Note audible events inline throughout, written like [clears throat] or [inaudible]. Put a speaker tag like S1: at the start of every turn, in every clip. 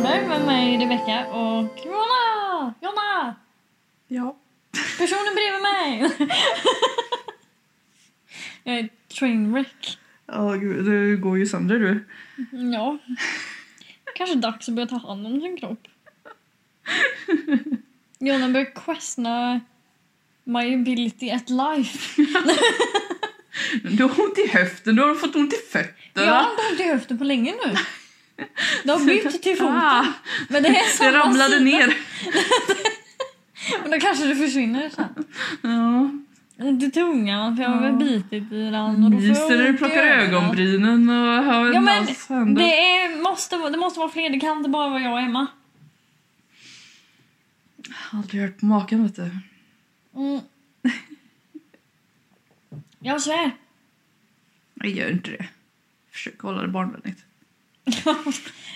S1: mig Rebecka och Jonna! Jonna!
S2: Ja.
S1: Personen bredvid mig! [laughs] jag är ett trainwreck.
S2: Ja, gud, du går ju sönder du.
S1: Ja. Kanske dags att börja ta hand om sin kropp. Jonna börjar questiona my ability at life.
S2: Du har ont i höften, du har fått ont i fötterna.
S1: Jag har inte ont i höften på länge nu. Det har bytt till
S2: [laughs] Ah,
S1: foten. Men det är samma
S2: det ramlade
S1: sida.
S2: ner.
S1: Men då kanske det försvinner sen.
S2: Ja.
S1: Ont i tungan för jag har väl
S2: Ja.
S1: bitit i den. Och då får jag
S2: Nyser när du
S1: ont i
S2: plockar
S1: ögonen.
S2: ögonbrynen och har en
S1: Ja, men
S2: hals händer.
S1: Det, är, måste, det måste vara fler, det kan inte bara vara jag och Emma.
S2: Jag har aldrig hört på maken vet du. [laughs]
S1: Mm. Jag svär.
S2: Jag gör inte det. Försök hålla det barnvänligt.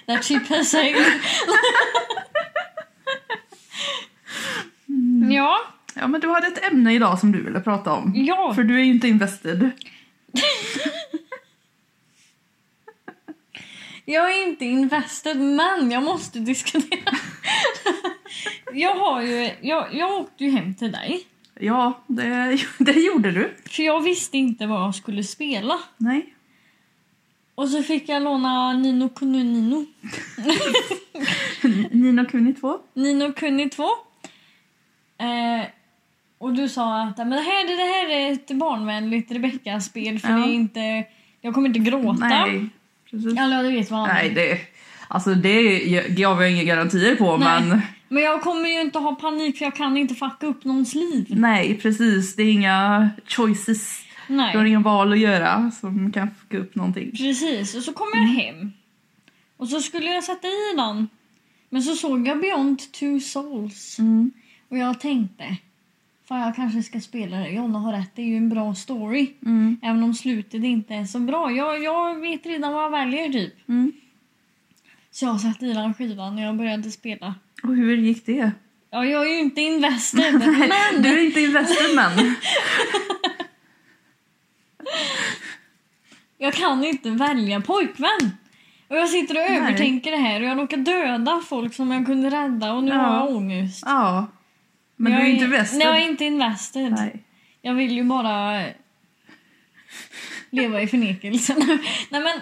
S1: That ship has sailed.
S2: Mm.
S1: Ja,
S2: Ja men du hade ett ämne idag som du ville prata om.
S1: ja.
S2: För du är ju inte invested.
S1: Jag är inte invested, men jag måste
S2: [laughs]
S1: diskutera. jag, har ju, jag, jag åkte ju hem till dig,
S2: Ja, det, [laughs] det gjorde du.
S1: för jag visste inte vad jag skulle spela.
S2: Nej.
S1: Och så fick jag låna Nino Kuni Nino.
S2: Nina Kuni 2.
S1: Nino Kuni 2. Eh, och du sa att "Men det här, det här är ett barnvänligt Rebecca-spel för
S2: Ja.
S1: det är inte, jag kommer inte gråta.
S2: Nej. Precis.
S1: Eller du vet vad han
S2: Nej, det... Alltså det gav jag inga garantier på
S1: Nej.
S2: men
S1: Men jag kommer ju inte ha panik för jag kan inte fucka upp någons liv.
S2: nej precis det är inga choices. Du har
S1: Nej.
S2: inga val att göra som kan fucka upp någonting.
S1: Precis, och så kom jag
S2: Mm.
S1: hem. Och så skulle jag sätta i den. Men så såg jag Beyond two souls.
S2: Mm.
S1: Och jag tänkte, fan jag kanske ska spela det. Jonna har rätt, det är ju en bra story.
S2: Mm.
S1: Även om slutet inte är så bra. Jag, jag vet redan vad jag väljer typ.
S2: Mm.
S1: Så jag satte i den skivan när jag började spela.
S2: Och hur gick det?
S1: Ja, jag är ju inte invested.
S2: [laughs]
S1: men
S2: Du är inte invested [laughs] men.
S1: jag kan inte välja pojkvän. Och jag sitter och
S2: Nej.
S1: övertänker det här och jag råkar döda folk som jag kunde rädda och nu
S2: Ja.
S1: har jag ångest.
S2: Ja. Men
S1: jag
S2: du är inte invested.
S1: Nej, jag är inte invested.
S2: Nej.
S1: Jag vill ju bara leva i förnekelsen. [laughs] Nej men,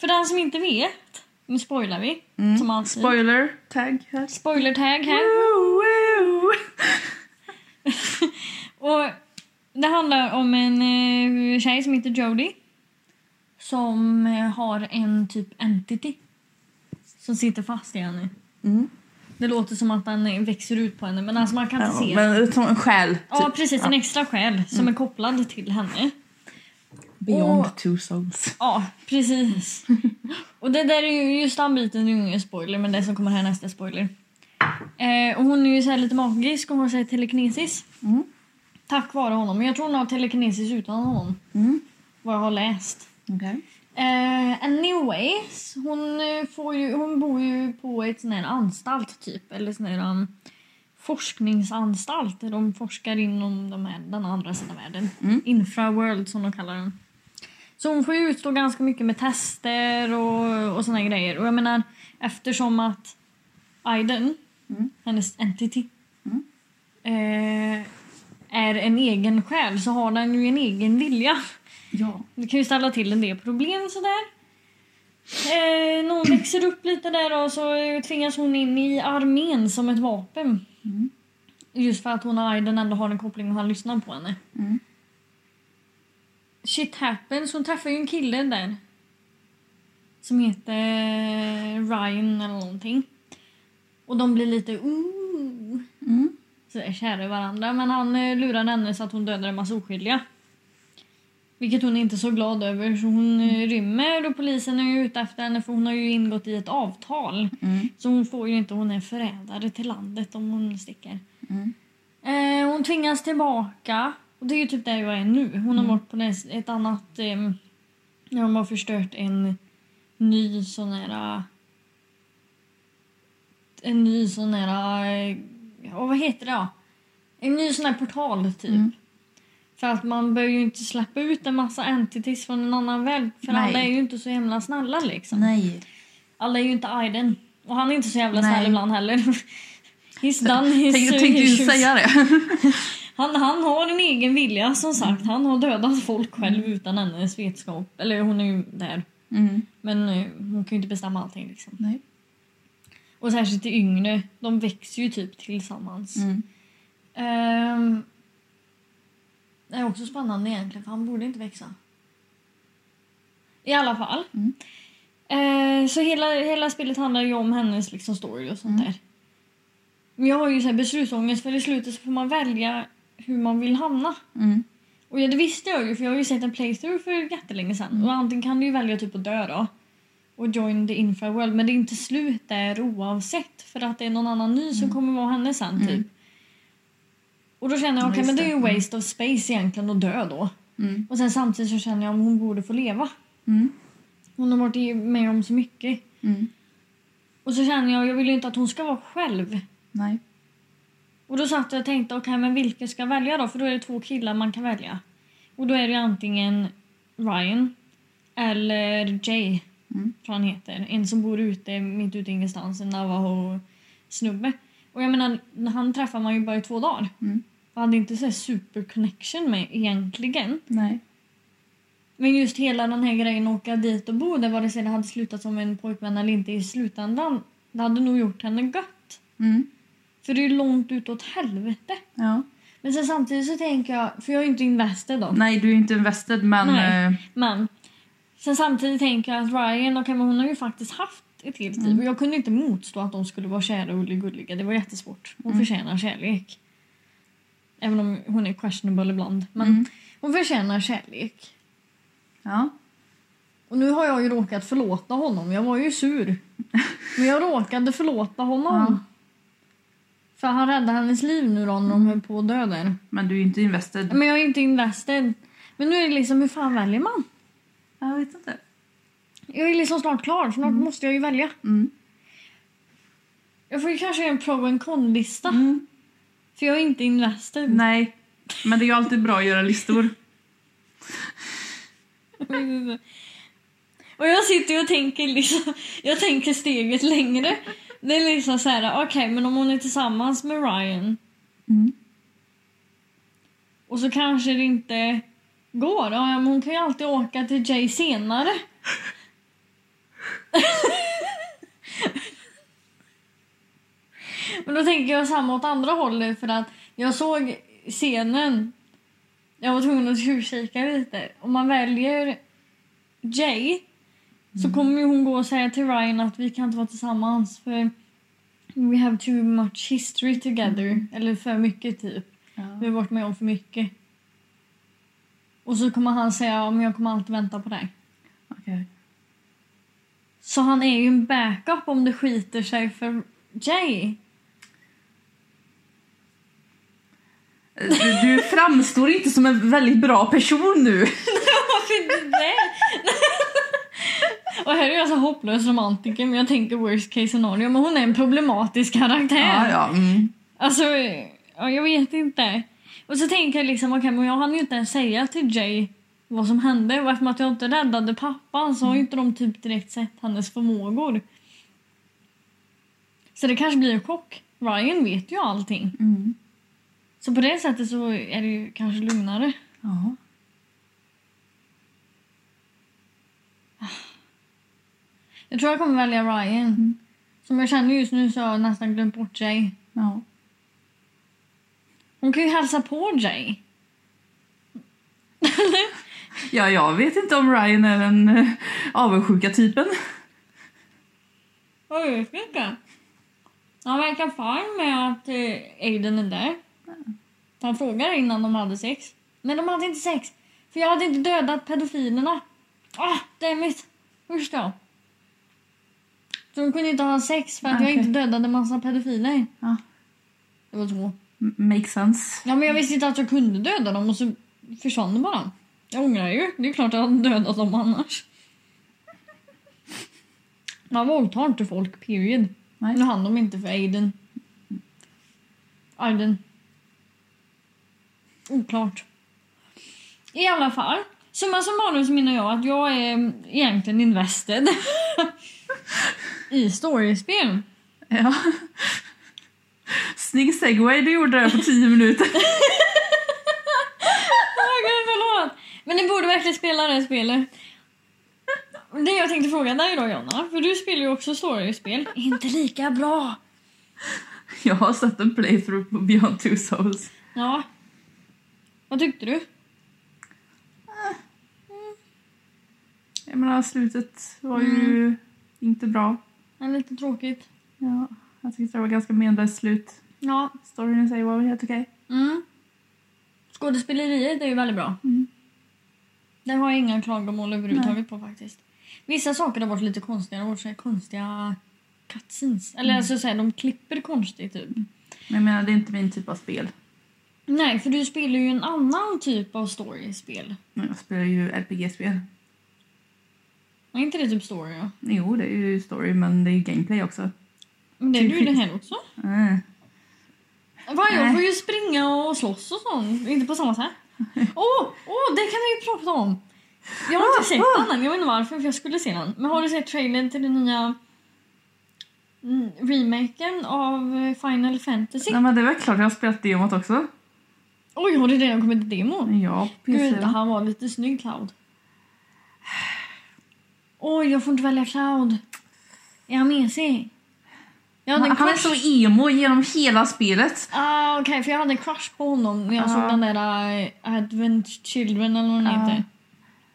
S1: för den som inte vet, nu spoilar vi
S2: Mm.
S1: som alltid.
S2: Spoiler tag här.
S1: Spoiler tag här.
S2: Woo, woo.
S1: Och det handlar om en eh, tjej som heter Jodie som eh, har en typ entity som sitter fast i henne.
S2: Mm.
S1: Det låter som att den eh, växer ut på henne men alltså man kan inte
S2: Ja,
S1: se.
S2: men som en själ. Typ. Mm.
S1: Ja precis, en extra själ som är kopplad till henne.
S2: Beyond
S1: Och-
S2: two souls.
S1: Ja,
S2: [laughs]
S1: precis. Och det där är ju, just den biten är ju ingen spoiler, men det som kommer här nästa är spoiler. Eh, och hon är ju så här lite magisk och hon säger telekinesis.
S2: Mm.
S1: Tack vare honom. Men jag tror hon har telekinesis utan honom,
S2: Mm.
S1: vad jag har läst.
S2: Okej.
S1: Eh, anyways, hon, eh, får ju, hon bor ju på ett sån här anstalt typ, eller sån här um, forskningsanstalt där de forskar inom de här, den andra sidan världen.
S2: Mm.
S1: Infraworld som de kallar den. Så hon får ju utstå ganska mycket med tester och, och såna här grejer. Och jag menar, eftersom att Aiden,
S2: Mm.
S1: hennes entity, eh, är en egen själ så har den ju en egen vilja.
S2: Ja.
S1: Det kan ju ställa till en del problem sådär. Eh,
S2: [clears throat]
S1: någon växer upp lite där och så tvingas hon in i armén som ett vapen.
S2: Mm.
S1: Just för att hon och Aiden ändå har en koppling och han lyssnar på henne.
S2: Mm.
S1: Shit happens, hon träffar ju en kille där. Som heter Ryan eller någonting. Och de blir lite ooh,
S2: Mm.
S1: sådär kära i varandra. Men han eh, lurar henne så att hon dödar en massa oskyldiga. Vilket hon är inte är så glad över så hon eh, rymmer och polisen är ju ute efter henne för hon har ju ingått i ett avtal.
S2: Mm.
S1: Så hon får ju inte, hon är förrädare till landet om hon sticker.
S2: Mm.
S1: Eh, hon tvingas tillbaka och det är ju typ där jag är nu. Hon
S2: Mm.
S1: har varit på näs- ett annat, eh, när de har förstört en ny sån här eh, en ny sån här, eh, ja, vad heter det då? En ny sån här portal typ.
S2: Mm.
S1: För att man bör ju inte släppa ut en massa entities från en annan värld för
S2: Nej.
S1: alla är ju inte så himla snälla liksom.
S2: Nej.
S1: Alla är ju inte Aiden. Och han är inte så jävla
S2: Nej.
S1: snäll ibland heller. [laughs] He's done his
S2: Tänk,
S1: uh,
S2: tänkte ju
S1: issues.
S2: säga det.
S1: Han, han har en egen vilja som sagt.
S2: Mm.
S1: Han har dödat folk själv utan hennes vetskap. Eller hon är ju där.
S2: Mm.
S1: Men eh, hon kan ju inte bestämma allting liksom.
S2: Nej.
S1: Och särskilt det yngre. De växer ju typ tillsammans.
S2: Mm.
S1: Ehm, det är också spännande egentligen för han borde inte växa. I alla fall.
S2: Mm.
S1: Ehm, så hela, hela spelet handlar ju om hennes liksom, story och sånt
S2: Mm.
S1: där. Men jag har ju så här beslutsångest för i slutet så får man välja hur man vill hamna.
S2: Mm.
S1: Och ja, det visste jag ju för jag har ju sett en playthrough för jättelänge sedan.
S2: Mm.
S1: Och antingen kan du ju välja typ att dö då och join the infra world men det är inte slut där oavsett för att det är någon annan ny som kommer vara henne sen
S2: Mm.
S1: typ. Och då känner jag
S2: Ja,
S1: okej
S2: just
S1: men det är
S2: det.
S1: ju waste of space egentligen att dö då.
S2: Mm.
S1: Och sen samtidigt så känner jag om hon borde få leva.
S2: Mm.
S1: Hon har varit med om så mycket.
S2: Mm.
S1: Och så känner jag jag vill ju inte att hon ska vara själv.
S2: Nej.
S1: Och då satt jag och tänkte, okej men vilka ska jag välja då? För då är det två killar man kan välja. Och då är det antingen Ryan eller Jay,
S2: Mm.
S1: tror han heter. En som bor ute, mitt ute i ingenstans, en navajo-snubbe. Och jag menar, han träffar man ju bara i två dagar.
S2: Mm.
S1: Jag hade inte så här super-connection med egentligen.
S2: Nej.
S1: Men just hela den här grejen att åka dit och bo där, vad det sedan hade slutat som en pojkvän eller inte i slutändan, det hade nog gjort henne gött.
S2: Mm.
S1: För det är ju långt utåt helvete.
S2: Ja.
S1: Men sen samtidigt så tänker jag, för jag är ju inte invested då.
S2: Nej, du är inte invested men...
S1: Nej.
S2: eh,
S1: Men sen samtidigt tänker jag att Ryan och Cameron hon har ju faktiskt haft ett helt liv.
S2: Mm.
S1: Och jag kunde inte motstå att de skulle vara kära och gulliga. Det var jättesvårt. Hon
S2: Mm.
S1: förtjänar kärlek. Även om hon är questionable ibland. Men
S2: Mm.
S1: hon förtjänar kärlek.
S2: ja.
S1: Och nu har jag ju råkat förlåta honom. Jag var ju sur. Men jag råkade förlåta honom.
S2: Ja.
S1: För han räddade hennes liv nu då när de
S2: Mm.
S1: höll på att dö där.
S2: Men du är ju inte invested.
S1: Men jag är inte invested. Men nu är det liksom, hur fan väljer man?
S2: Jag vet inte.
S1: Jag är liksom snart klar, snart måste jag ju välja.
S2: Mm.
S1: Jag får ju kanske göra en pro and con-lista.
S2: Mm.
S1: För jag är inte invested. [laughs]
S2: Nej. Men det är ju alltid bra att göra listor.
S1: och jag sitter ju och tänker liksom, jag tänker steget längre. Det är liksom så här, okej men om hon är tillsammans med Ryan
S2: Mm.
S1: och så kanske det inte går. Ja, men hon kan ju alltid åka till Jay senare. [laughs] Men då tänker jag samma åt andra hållet för att jag såg scenen. Jag var tvungen att tjuvkika lite. Om man väljer Jay så kommer ju hon gå och säga till Ryan att vi kan inte vara tillsammans för we have too much history together. Eller för mycket typ.
S2: Ja.
S1: Vi har varit med om för mycket. Och så kommer han säga ja, men jag kommer alltid vänta på dig.
S2: Okej.
S1: Så han är ju en backup om det skiter sig för Jay. [laughs]
S2: Eh, Du, du framstår inte som en väldigt bra person nu.
S1: Varför inte det? Och här är jag så hopplös romantiker men jag tänker worst case scenario. Men hon är en problematisk karaktär.
S2: Ja, ja. Mm.
S1: Alltså, ja, jag vet inte. Och så tänker jag liksom, okej men jag hann ju inte ens säga till Jay vad som hände. Eftersom att jag inte räddade pappan så har ju inte de typ direkt sett hennes förmågor. Så det kanske blir en chock. Ryan vet ju allting.
S2: Mm.
S1: Så på det sättet så är det ju kanske lugnare.
S2: Ja.
S1: Jag tror jag kommer välja Ryan. Som jag känner just nu så har jag nästan glömt bort Jay.
S2: ja.
S1: Hon kan ju hälsa på Jay.
S2: Ja, jag vet inte om Ryan är den eh, avundsjuka typen.
S1: Jag vet inte. Han verkar fine med att eh, Aiden är där. Han frågade innan de hade sex. Men de hade inte sex. För jag hade inte dödat pedofilerna. Ah, dammit. Usch då. Så de kunde inte ha sex för att
S2: Okej.
S1: jag inte dödade massa pedofiler.
S2: Ja.
S1: Det var så.
S2: M- Makes sense.
S1: Ja, men jag visste inte att jag kunde döda dem och så försvann de bara. Jag ångrar ju. Det är klart jag hade dödat dem annars. Man våldtar inte folk, period.
S2: Nej.
S1: Nu hann de inte för Aiden. Aiden. Oklart. I alla fall. mm, Summa summarum så menar jag att jag är egentligen invested. [laughs] i storiespel.
S2: Ja. Snygg segway du gjorde där på tio minuter.
S1: Åh, gud, förlåt. Men ni borde verkligen spela det här spelet. Det jag tänkte fråga dig då Jonna, för du spelar ju också storiespel. Inte lika bra.
S2: [laughs] Jag har sett en playthrough på Beyond Two Souls.
S1: Ja. Vad tyckte du?
S2: Jag menar, slutet var ju inte bra.
S1: Det är lite tråkigt.
S2: Ja, jag tyckte det var ganska meningslöst slut.
S1: Ja.
S2: Storyn i sig var väl helt okej.
S1: Mm. Skådespeleriet är ju väldigt bra.
S2: Mm.
S1: Det har jag inga klagomål överhuvudtaget på faktiskt. Vissa saker har varit lite konstiga. Det har varit så här konstiga cutscenes. Eller alltså så här, de klipper konstigt typ.
S2: Men jag menar, det är inte min typ av spel.
S1: Nej, för du spelar ju en annan typ av storyspel.
S2: Men jag spelar ju RPG-spel.
S1: Är inte det typ story? Ja?
S2: Jo, det är ju story, men det är ju gameplay också.
S1: Men det är
S2: Typ
S1: ju det här också.
S2: Mm.
S1: Va, jag
S2: Nej.
S1: får ju springa och slåss och sånt. Inte på samma
S2: [laughs]
S1: sätt. Åh, oh, det kan vi ju prata om! Jag
S2: Ah,
S1: har inte sett den än, jag vet inte varför för jag skulle se den. Men har du sett trailern till den nya mm, remaken av eh, Final Fantasy?
S2: Nej, men det är väl klart jag har spelat demot också.
S1: Oj, har det redan kommit ett demo?
S2: Ja,
S1: Gud,
S2: PC.
S1: han var lite snygg Cloud. Oj, jag får inte välja Cloud. Är han mesig? Jag hade en
S2: Han är
S1: crush.
S2: så emo genom hela spelet.
S1: Ah, Okej, för jag hade en crush på honom när jag
S2: Ja.
S1: såg den där eh, Advent Children eller vad den
S2: Ja.
S1: heter.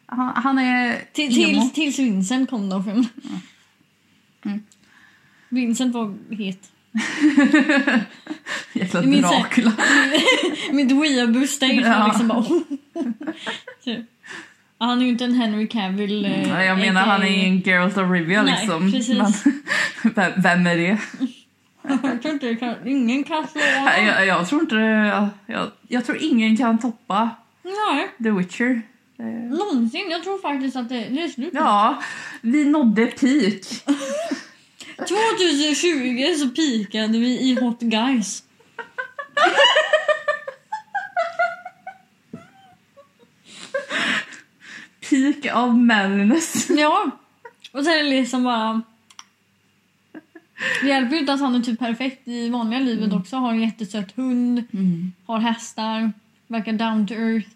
S2: Han, han är
S1: Till,
S2: Ah. emo.
S1: tills, tills Vincent kom då. För...
S2: Mm.
S1: Vincent var het.
S2: Jäkla
S1: Jag minns det.
S2: Dracula.
S1: Mitt weeaboo-stage var
S2: Ja.
S1: liksom bara... [laughs] Typ. Ja, han är ju inte en Henry Cavill. eh,
S2: Mm, Nej, jag menar
S1: aka.
S2: han är ingen Girls of Rivia
S1: Nej,
S2: liksom.
S1: precis.
S2: Men, [laughs] vem- vem är det?
S1: jag tror inte det kan, ingen kan slå honom.
S2: Nej, Jag, jag tror inte jag, jag, jag tror ingen kan toppa
S1: Nej,
S2: The Witcher. Det-
S1: någonsin. Jag tror faktiskt att det, det är slut.
S2: Ja, vi nådde
S1: 2020
S2: peak.
S1: så pikade vi i Hot Guys.
S2: Peak av madness.
S1: Ja. Och sen är det liksom bara... Det hjälper ju inte att han är typ perfekt i vanliga livet också. Har en jättesöt hund,
S2: Mm.
S1: har hästar, verkar down to earth.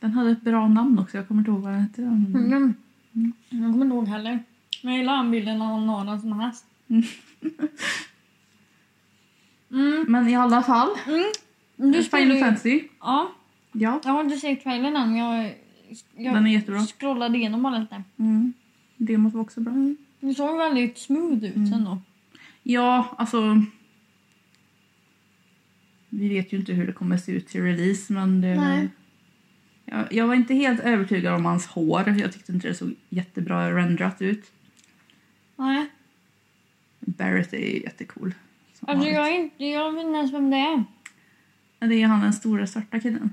S2: Den hade ett bra namn också, jag kommer inte ihåg vad den hette. Mm.
S1: Mm. Jag kommer inte ihåg heller. Men jag gillar han bilden när han har den som häst. Mm.
S2: Men i alla fall,
S1: Mm. Du spelar
S2: Final
S1: ju...
S2: Fantasy.
S1: Ja,
S2: Ja,
S1: jag har inte sett trailern än. men Jag, jag
S2: den är jättebra.
S1: scrollade igenom bara lite.
S2: Mm. Demot var också bra.
S1: Det såg väldigt smooth ut
S2: Mm.
S1: ändå.
S2: Ja, alltså... Vi vet ju inte hur det kommer se ut till release, men... Det,
S1: Nej.
S2: Jag, jag var inte helt övertygad om hans hår. Jag tyckte inte det såg jättebra renderat ut.
S1: Nej.
S2: Barrett är jättecool. som
S1: Alltså
S2: vanligt.
S1: jag, är inte, jag vet inte ens vem det är.
S2: Men Det är han den stora svarta killen.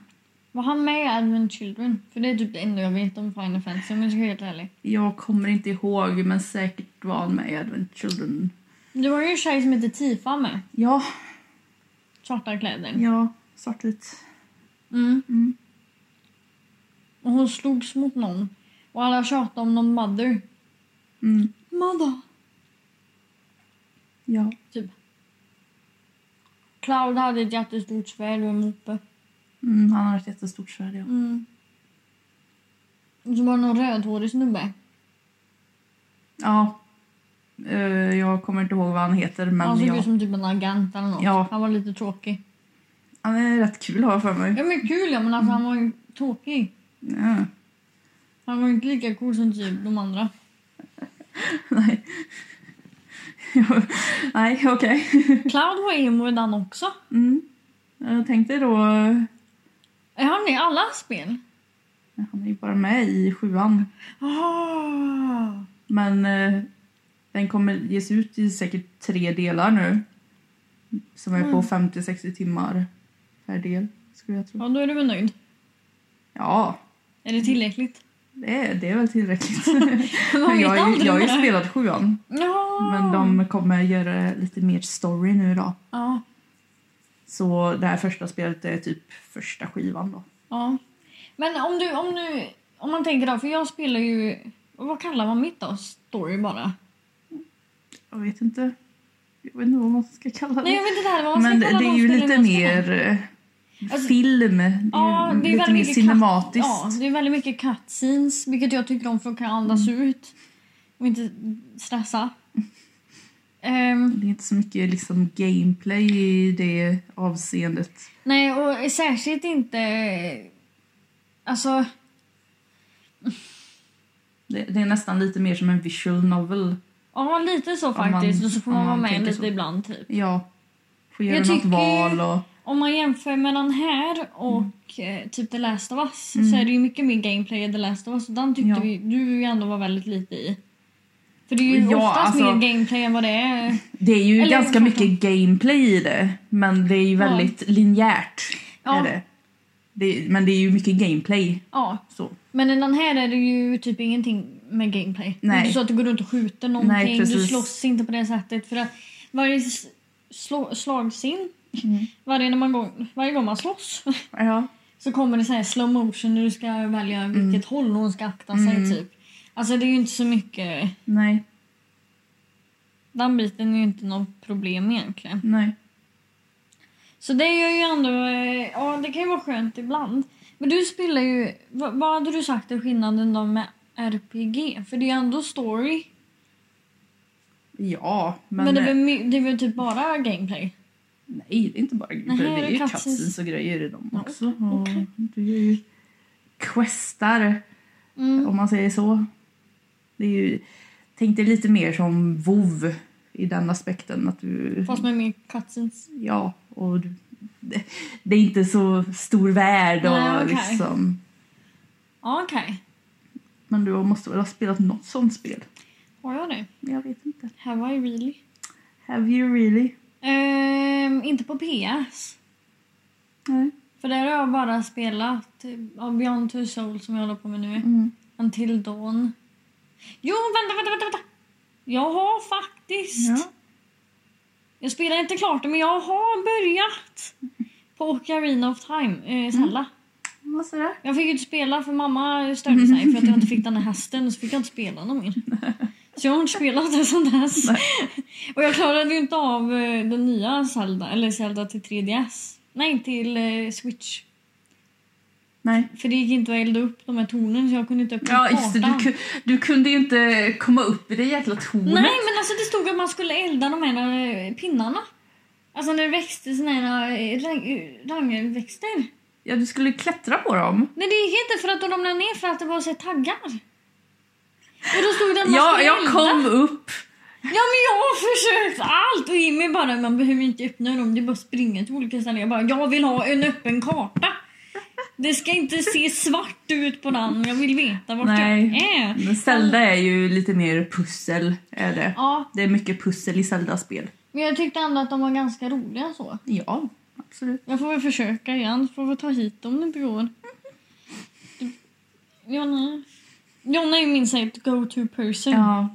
S1: Var han med i Advent Children? För det är typ det enda jag vet om Final Fantasy om jag ska vara helt ärlig.
S2: Jag kommer inte ihåg, men säkert var han med i Advent Children.
S1: Det var ju en tjej som hette Tifa med.
S2: Ja,
S1: Svarta kläder.
S2: ja, svartvitt.
S1: Mm.
S2: Mm.
S1: Och hon slogs mot någon. Och alla tjatade om någon mother.
S2: Mm.
S1: Mother.
S2: Ja.
S1: Typ. Cloud hade ett jättestort svärd och en moppe.
S2: Mm, han har ett jättestort svärd, ja.
S1: Mm. Och så var det någon rödhårig snubbe.
S2: ja. Eh, jag kommer inte ihåg vad han heter, men
S1: Han såg
S2: jag...
S1: ut som typ en agent eller något.
S2: Ja.
S1: Han var lite tråkig.
S2: han är rätt kul har jag för mig.
S1: Ja men kul ja, men alltså han var ju tråkig.
S2: Ja.
S1: Han var ju inte lika cool som typ de andra.
S2: Nej. [laughs] Nej, okej.
S1: Cloud var emo i den också.
S2: Mm. Jag tänkte då... eh,
S1: Är han med i alla spel?
S2: Han är ju bara med i sjuan. Ah.
S1: Oh.
S2: Men eh, den kommer ges ut i säkert tre delar nu. Som är på
S1: Mm.
S2: 50-60 timmar per del, skulle jag tro.
S1: Ja, då är du väl nöjd?
S2: Ja,
S1: Är det tillräckligt?
S2: det är, det är
S1: [laughs]
S2: väl tillräckligt.
S1: Man
S2: Men
S1: vet
S2: jag, har ju-
S1: aldrig
S2: jag har ju
S1: med det här. Ah.
S2: spelat sjuan,
S1: Ja.
S2: men de kommer göra lite mer story nu då.
S1: Ja.
S2: Så det här första spelet är typ första skivan då.
S1: ja. Men om du, om du... Om man tänker då, för jag spelar ju... Vad kallar man mitt då? Story bara?
S2: jag vet inte. Jag vet inte vad man ska kalla det.
S1: Nej, jag vet inte heller vad man ska
S2: Men det,
S1: kalla
S2: det är ju
S1: dansställen
S2: lite
S1: man ska ha.
S2: mer eh,
S1: Alltså-
S2: film. Det är ju
S1: Ja, det är
S2: lite
S1: väldigt
S2: mer
S1: mycket
S2: cinematiskt.
S1: Ja, det är väldigt mycket cut scenes, vilket jag tycker om för att kunna andas
S2: Mm.
S1: ut och inte stressa. Ehm,
S2: Det är inte så mycket liksom gameplay i det avseendet.
S1: nej, och särskilt inte... Alltså,
S2: Det, det är nästan lite mer som en visual novel.
S1: ja lite så
S2: man-
S1: faktiskt. och så får
S2: om
S1: man vara
S2: man
S1: med
S2: tänker
S1: lite
S2: så.
S1: ibland typ.
S2: Ja. Får göra
S1: Jag
S2: något
S1: tycker-
S2: val och...
S1: Om man jämför mellan här och eh, typ The Last of Us så
S2: Mm.
S1: är det ju mycket mer gameplay i The Last of Us. och Den tyckte
S2: Ja.
S1: vi, du ju ändå var väldigt lite i. För det är ju
S2: Ja,
S1: oftast
S2: alltså-
S1: mer gameplay än vad det är.
S2: Det är ju
S1: Eller
S2: ganska
S1: tvärtom.
S2: mycket gameplay i det, men det är ju väldigt linjärt.
S1: Ja.
S2: Är det. Det, men det är ju mycket gameplay.
S1: Ja,
S2: Så.
S1: Men i den här är det ju typ ingenting med gameplay. Det är
S2: Nej.
S1: inte så att du går runt och skjuter någonting,
S2: Nej,
S1: du
S2: precis.
S1: slåss inte på det sättet. För att varje s- slå, slagscen, varje, när man går, varje gång man slåss [laughs]
S2: Ja.
S1: så kommer det så här slow motion när du ska välja vilket håll hon ska akta sig typ. Alltså det är ju inte så mycket,
S2: Nej,
S1: den biten är ju inte något problem egentligen.
S2: nej.
S1: Så det är ju ändå, eh, ja det kan ju vara skönt ibland. Men du spelar ju, vad, vad hade du sagt är skillnaden då med RPG? För det är ju ändå story.
S2: Ja, men,
S1: Men, det, är väl, my- det är väl typ bara gameplay?
S2: nej, det är inte bara gameplay.
S1: Nej,
S2: det är
S1: det är
S2: ju
S1: cutscenes.
S2: cutscenes och grejer i dem
S1: Ja,
S2: också.
S1: okej.
S2: Och du gör ju questar,
S1: Mm.
S2: om man säger så. Det är ju, tänk dig lite mer som WoW i den aspekten. Att du,
S1: Fast med mer cutscenes.
S2: Ja, och du, det, det är inte så stor värld. Och
S1: Nej, okej.
S2: liksom,
S1: Ja, okej.
S2: men du måste väl ha spelat något sånt spel?
S1: Har jag det?
S2: Jag vet inte.
S1: Have I really?
S2: Have you really?
S1: Ehm, inte på PS.
S2: Nej.
S1: För där har jag bara spelat eh, ja, Beyond Two Souls som jag håller på med nu.
S2: Mm.
S1: Until Dawn. Jo, vänta, vänta, vänta! vänta. Jag har faktiskt...
S2: Ja.
S1: Jag spelar inte klart det, men jag har börjat! På Ocarina of Time, eh,
S2: Mm.
S1: Zelda.
S2: Vad sa du?
S1: Jag fick ju inte spela för mamma störde sig för att jag inte fick den här hästen och så fick jag inte spela någon mer. Så jag har inte spelat det sedan dess.
S2: Nej.
S1: Och jag klarade ju inte av eh, den nya Zelda, eller Zelda till 3DS. Nej, till eh, Switch.
S2: Nej.
S1: För det gick inte att elda upp de här tornen så jag kunde inte öppna
S2: Ja, just det. Du,
S1: kartan.
S2: ku- du kunde ju inte komma upp i det jäkla tornet.
S1: Nej, men alltså det stod att man skulle elda de här eh, pinnarna. Alltså när det växte såna här eh, rang- eh, rangelväxter.
S2: Ja, du skulle klättra på dem.
S1: Nej, det gick inte för att de ramlade ner för att det var så här taggar. Och då stod det att man
S2: Ja,
S1: skulle elda.
S2: jag kom upp.
S1: Ja men jag har försökt allt och Jimmy bara man behöver inte öppna dem, det är bara att springa till olika ställen. Jag bara jag vill ha en öppen karta. Det ska inte se svart ut på den, jag vill veta vart
S2: Nej.
S1: jag är.
S2: Men Zelda är ju lite mer pussel. Är det.
S1: Ja,
S2: det är mycket pussel i Zelda-spel.
S1: men jag tyckte ändå att de var ganska roliga så.
S2: Ja, absolut.
S1: Jag får väl försöka igen, får väl ta hit dem när det går. Jonna, Jonna är min så här go-to person.
S2: Ja,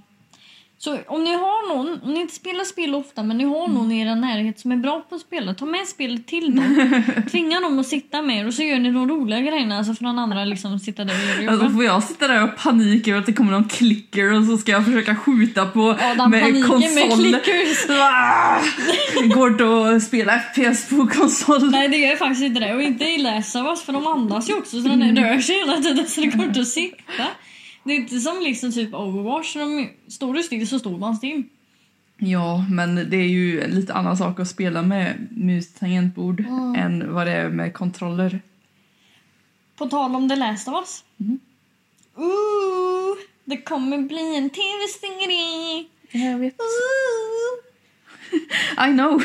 S1: Så om ni har någon, om ni inte spelar spel ofta men ni har någon i er närhet som är bra på att spela, ta med spelet till
S2: [laughs]
S1: dem. Tvinga dem att sitta med er och så gör ni de roliga grejerna alltså för den andra liksom sitta där och göra
S2: Ja, då
S1: jobbet.
S2: får jag sitta där och panik över att det kommer någon klicker och så ska jag försöka skjuta på [laughs]
S1: Ja, den
S2: med
S1: paniken med
S2: konsol.
S1: klickers.
S2: Ah! Går det att spela FPS på konsol?
S1: Nej det gör faktiskt inte det och inte i Last of Us för de andas ju också så den rör sig hela tiden så det går inte att sitta. Det är inte som liksom typ Overwatch, de står du still så står man still.
S2: Ja, men det är ju en lite annan sak att spela med mus tangentbord
S1: Mm.
S2: än vad det är med kontroller.
S1: På tal om The Last of Us.
S2: Mhm.
S1: Ooh, det kommer bli en tv-serie!
S2: Jag vet. I know.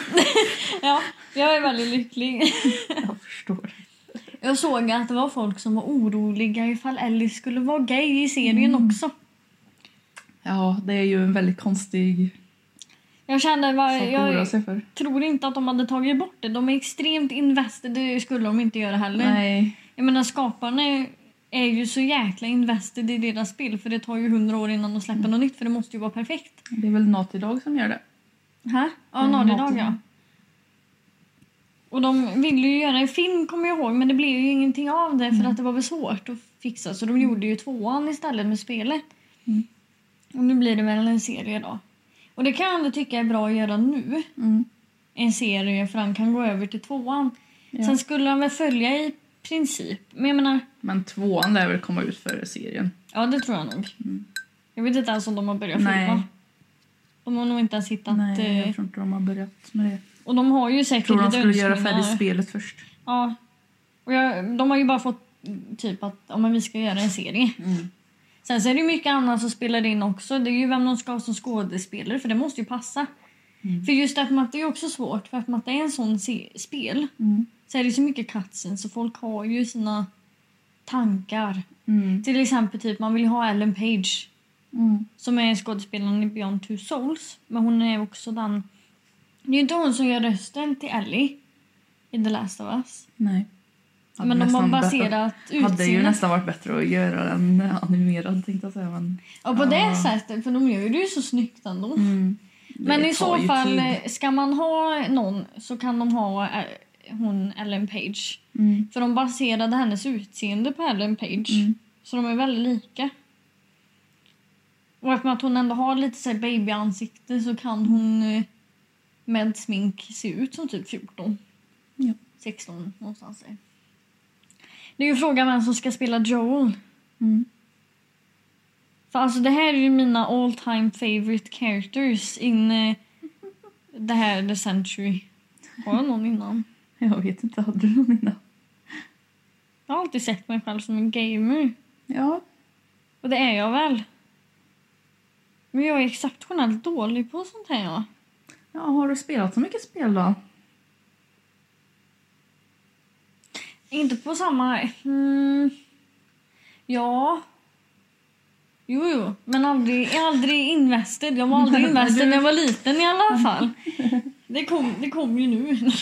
S1: Ja, jag är väldigt lycklig.
S2: [laughs] Jag förstår.
S1: Jag såg att det var folk som var oroliga ifall Ellie skulle vara gay i serien också.
S2: Ja, det är ju en väldigt konstig
S1: Jag kände var,
S2: sak att oroa
S1: jag
S2: sig för.
S1: tror inte att de hade tagit bort det. De är extremt invested, det skulle de inte göra heller.
S2: Nej.
S1: Jag menar skaparna är ju så jäkla invested i deras spel för det tar ju hundra år innan de släpper
S2: Mm.
S1: något nytt för det måste ju vara perfekt.
S2: Det är väl Naughty Dog som gör det.
S1: Hä? Ja,
S2: Mm,
S1: Nadidag
S2: maten.
S1: ja. Och de ville ju göra en film kommer jag ihåg men det blev ju ingenting av det för
S2: Mm.
S1: att det var väl svårt att fixa så de gjorde ju tvåan istället med spelet.
S2: Mm.
S1: Och nu blir det väl en serie då. Och det kan jag ändå tycka är bra att göra nu.
S2: Mm.
S1: En serie för han kan gå över till tvåan.
S2: Ja.
S1: Sen skulle han väl följa i princip. Men jag menar,
S2: Men tvåan lär väl komma ut före serien.
S1: ja det tror jag nog. Jag vet inte ens om de har börjat
S2: Mm. Nej.
S1: filma. De har nog inte ens hittat...
S2: Nej,
S1: eh,
S2: jag tror inte de har börjat med det.
S1: och de har ju
S2: Jag
S1: säkert
S2: tror de
S1: lite
S2: skulle göra
S1: önskningar.
S2: färdigt spelet först.
S1: Ja. Och jag, de har ju bara fått typ att om vi ska göra en serie. Sen så är det ju mycket annat som spelar in också. Det är ju vem de ska ha som skådespelare för det måste ju passa. För just därför att det är också svårt för att det är en sån se- spel
S2: Mm.
S1: så är det så mycket katsen så folk har ju sina tankar. Till exempel typ man vill ju ha Ellen Page
S2: Mm.
S1: som är skådespelaren i Beyond Two Souls. Men hon är också den... Det är ju inte hon som gör rösten till Ellie i The Last of Us.
S2: Nej. Hade
S1: Men de har
S2: nästan
S1: baserat
S2: bättre- Hade ju
S1: utseendet
S2: nästan varit bättre att göra den animerad tänkte jag säga. Men,
S1: ja, på
S2: Ja. Mm.
S1: det sättet, för de gör ju det ju så snyggt ändå.
S2: Det
S1: Men i
S2: tar
S1: så
S2: ju
S1: fall,
S2: tid.
S1: eh, ska man ha någon så kan de ha eh, hon Ellen Page.
S2: Mm.
S1: För de baserade hennes utseende på Ellen Page.
S2: Mm.
S1: Så de är väldigt lika. Och eftersom att hon ändå har lite så här babyansikte så kan hon eh, med smink se ut som typ 14.
S2: Ja.
S1: 16 någonstans där. Det är ju frågan vem som ska spela Joel.
S2: Mm.
S1: För alltså det här är ju mina all time favorite characters in eh, det här The Century. Har jag någon innan?
S2: Jag vet inte, hade du någon innan?
S1: Jag har alltid sett mig själv som en gamer.
S2: Ja.
S1: Och det är jag väl. Men jag är exceptionellt dålig på sånt här ja.
S2: ja, har du spelat så mycket spel då?
S1: Inte på samma... Mm, ja. Jo, jo. Men aldrig, jag är aldrig invested. Jag var aldrig invested när jag var liten i alla fall. Det kom, det kom ju nu. [laughs]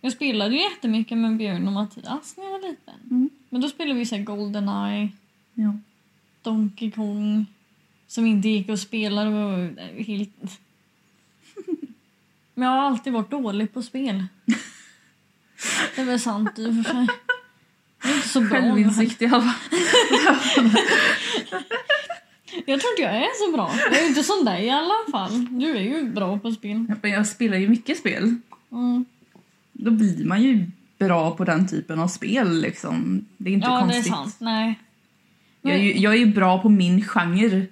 S1: Jag spelade ju jättemycket med Björn och Mattias när jag var liten.
S2: Mm.
S1: Men då spelade vi så här Goldeneye,
S2: Ja.
S1: Donkey Kong som inte gick att spela. Det var helt... [laughs] Men jag har alltid varit dålig på
S2: [laughs]
S1: spel. Det är väl sant i och för sig. Jag är inte så bra.
S2: Självinsikt i alla fall.
S1: Jag tror inte jag är så bra. Jag är ju inte som dig i alla fall. Du är ju bra på spel.
S2: Men jag spelar ju mycket spel.
S1: Mm.
S2: Då blir man ju bra på den typen av spel liksom. Det är inte
S1: Ja,
S2: konstigt.
S1: det är sant. Nej.
S2: Jag är, ju, jag är ju bra på min genre,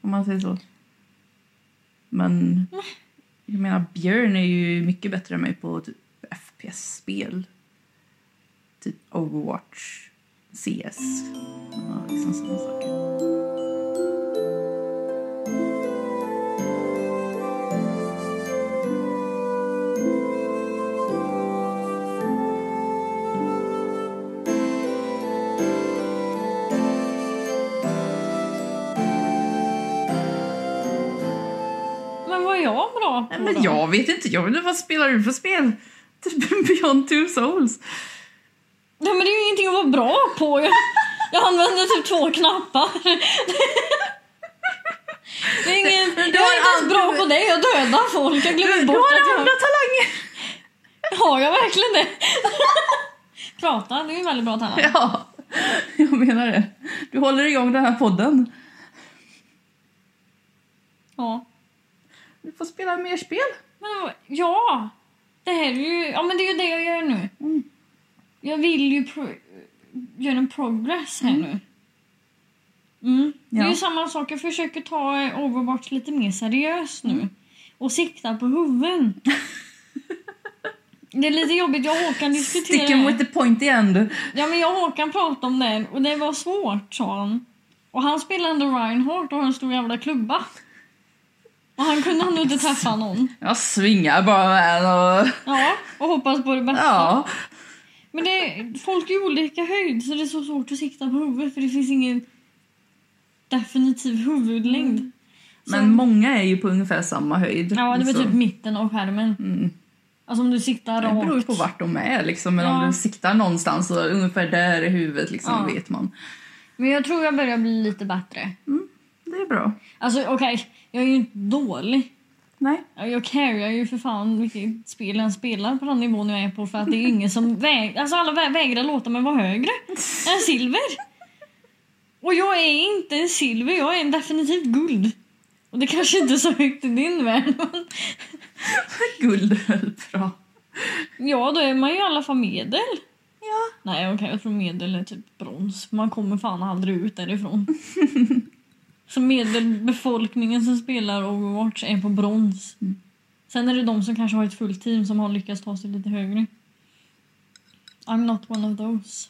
S2: om man säger så. Men jag menar, Björn är ju mycket bättre än mig på typ FPS-spel. Typ Overwatch, CS. Ja, liksom sådana saker.
S1: Men vad är jag bra på
S2: Nej, men
S1: då?
S2: jag vet inte, jag vet inte vad spelar du för spel? Typ [laughs] Beyond Two Souls.
S1: Nej, men det är ju ingenting att vara bra på. Jag, jag använder typ två knappar. Det är ingen, jag
S2: Men du
S1: är
S2: har
S1: inte ens bra
S2: aldrig-
S1: på det. Jag dödar folk. Jag
S2: Du,
S1: glömmer
S2: du
S1: bort
S2: har
S1: att
S2: andra
S1: jag...
S2: talanger!
S1: Har jag verkligen det? [laughs] Prata, det är ju väldigt bra talang.
S2: [laughs] Ja, jag menar det. Du håller igång den här podden.
S1: Ja.
S2: Du får spela mer spel.
S1: Men vad- ja! Det här är ju... Ja, men det är ju det jag gör nu.
S2: Mm.
S1: Jag vill ju pro- göra en progress här nu. Mm. Det är
S2: Ja.
S1: ju samma sak. Jag försöker ta eh, Overwatch lite mer seriöst
S2: Mm.
S1: nu. Och sikta på
S2: [laughs]
S1: huvuden. det är lite jobbigt. Jag och Håkan diskuterade
S2: Sticking with the pointy end.
S1: Ja, men jag och Håkan pratade om det och det var svårt, sa han. Och han spelade ändå Reinhardt och har en stor jävla klubba. Och han kunde ändå inte träffa någon.
S2: Jag svingar bara med den och...
S1: Ja, och hoppas på det bästa.
S2: Ja.
S1: Men det, folk är olika höjd så det är så svårt att sikta på huvudet för det finns ingen definitiv huvudlängd.
S2: Mm. Men många är ju på ungefär samma höjd.
S1: Ja, det var
S2: Så-
S1: typ mitten av skärmen.
S2: Mm.
S1: Alltså om du siktar
S2: Det beror ju
S1: rakt.
S2: på vart de är liksom. Men
S1: Ja.
S2: om de siktar någonstans så ungefär där i huvudet liksom
S1: Ja.
S2: vet man.
S1: Men jag tror jag börjar bli lite bättre.
S2: Det är bra.
S1: Alltså okej, jag är ju inte dålig.
S2: Nej.
S1: Ja, Jag carryar ju för fan vilket spel jag än spelar på den nivån jag är på för att det är ju ingen som vägrar. Alltså alla vä- vägrar låta mig vara högre än silver. Och jag är inte en silver, jag är en definitivt guld. Och det kanske inte är så högt i din värld. men-
S2: Guld är väl bra.
S1: ja, då är man ju i alla fall medel.
S2: Ja.
S1: Nej, okej, jag tror medel är typ brons. Man kommer fan aldrig ut
S2: [laughs]
S1: därifrån. så medelbefolkningen som spelar Overwatch är på brons.
S2: Mm.
S1: Sen är det de som kanske har ett fullt team som har lyckats ta sig lite högre. I'm not one of those.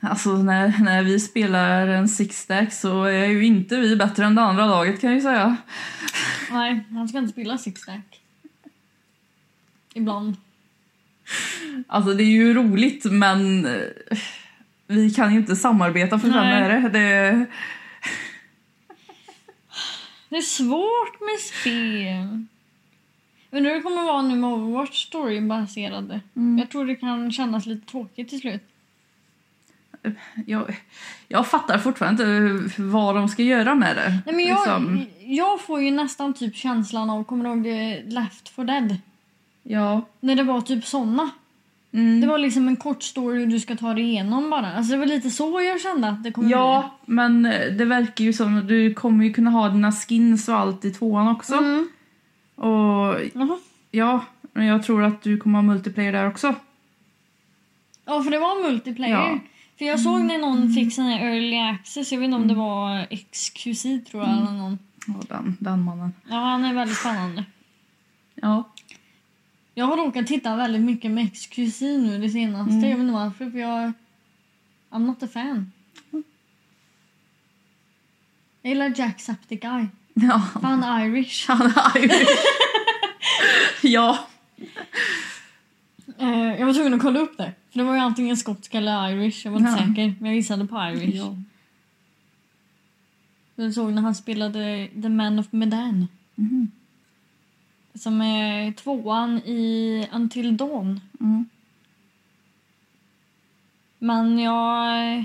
S2: Alltså när, när vi spelar en six-stack så är ju inte vi bättre än det andra laget kan jag ju säga.
S1: Nej, han ska inte spela six-stack. Ibland.
S2: Alltså det är ju roligt men eh, vi kan ju inte samarbeta för fem
S1: Nej.
S2: öre. Det,
S1: Det är svårt med spel. Undrar hur det kommer vara nu med Overwatch story-baserade.
S2: Mm.
S1: Jag tror det kan kännas lite tråkigt till slut.
S2: jag, jag fattar fortfarande inte vad de ska göra med det.
S1: Nej, men jag,
S2: Liksom,
S1: jag får ju nästan typ känslan av, kommer du ihåg det, Left for Dead?
S2: ja.
S1: När det var typ såna.
S2: Mm.
S1: Det var liksom en kort story och du ska ta dig igenom bara. Alltså det var lite så jag kände att det kommer
S2: Ja, men eh, det verkar ju som du kommer ju kunna ha dina skins och allt i tvåan också.
S1: bli. Mm.
S2: Och
S1: Jaha.
S2: ja, men jag tror att du kommer ha multiplayer där också.
S1: Ja, för det var multiplayer.
S2: Ja. Mm.
S1: För jag såg när någon fick sån här early access, jag vet inte om det var XQC tror
S2: Mm.
S1: jag eller någon.
S2: Ja, den, den mannen.
S1: Ja, han är väldigt spännande.
S2: Ja. [laughs]
S1: Jag har råkat titta väldigt mycket med XQC nu det senaste.
S2: Mm.
S1: Jag vet inte varför, för jag... I'm not a fan. Jag gillar Jacksepticeye.
S2: Ja.
S1: Han är Irish.
S2: Han
S1: [laughs]
S2: är Irish. ja.
S1: Eh, jag var tvungen att kolla upp det. För Det var ju antingen skotsk eller Irish. Jag var inte
S2: Ja.
S1: säker, men jag gissade på Irish. Jag såg när han spelade The Man of Medan.
S2: Mhm.
S1: Som är tvåan i Until Dawn.
S2: Mm.
S1: Men jag...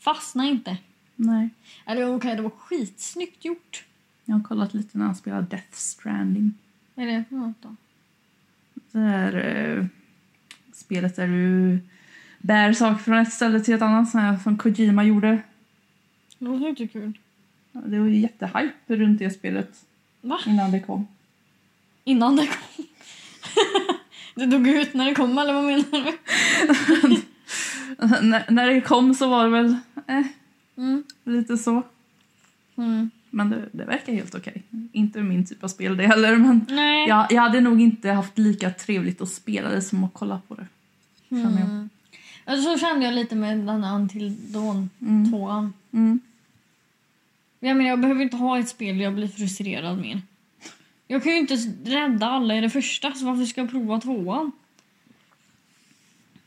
S1: Fastnade inte.
S2: Nej.
S1: Eller okej, det var skitsnyggt gjort.
S2: Jag har kollat lite när han spelar Death Stranding.
S1: Vad är det för något då?
S2: Det här eh, spelet där du bär saker från ett ställe till ett annat, sån här som Kojima gjorde.
S1: Det låter inte kul.
S2: Ja, Det var ju jättehype runt det spelet
S1: Va?
S2: innan det kom. [laughs]
S1: Innan det kom. [laughs] det dog ut när det kom, eller vad menar du?
S2: N- när det kom så var det väl eh,
S1: Mm.
S2: lite så.
S1: Mm.
S2: Men det, det verkar helt okej. Inte min typ av spel det heller, men
S1: Nej.
S2: jag, jag hade nog inte haft lika trevligt att spela det som att kolla på det. känner jag.
S1: Mm. Ja, Så kände jag lite med den här Until Dawn
S2: Mm.
S1: 2.
S2: Mm.
S1: Ja, men jag behöver inte ha ett spel där jag blir frustrerad mer. Jag kan ju inte rädda alla i det första, så varför ska jag prova tvåan?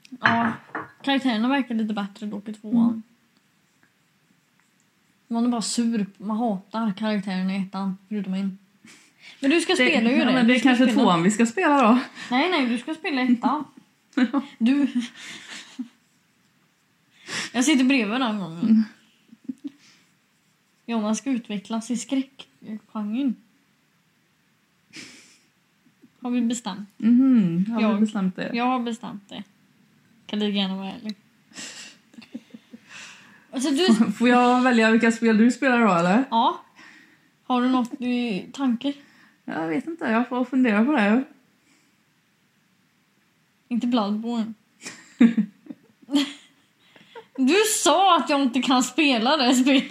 S1: Ja, karaktärerna verkar lite bättre dock i tvåan.
S2: Mm.
S1: Man är bara sur. Man hatar karaktärerna i ettan, förutom en. Men du ska
S2: Det,
S1: spela ju
S2: ja,
S1: det.
S2: men
S1: Du
S2: det är
S1: ska
S2: kanske
S1: spela-
S2: tvåan vi ska spela då.
S1: Nej, nej, du ska spela ettan. du... Jag sitter bredvid den gången. Jonas ska utvecklas i skräckgenren. Har vi bestämt?
S2: Mhm, har
S1: Jag.
S2: vi bestämt det?
S1: Jag har bestämt det. Kan lika gärna vara ärlig. Alltså du...
S2: [laughs] Får jag välja vilka spel du spelar då eller?
S1: Ja. Har du något i tanke?
S2: Jag vet inte, jag får fundera på det.
S1: Inte Bloodborne. Du sa att jag inte kan spela det spelet.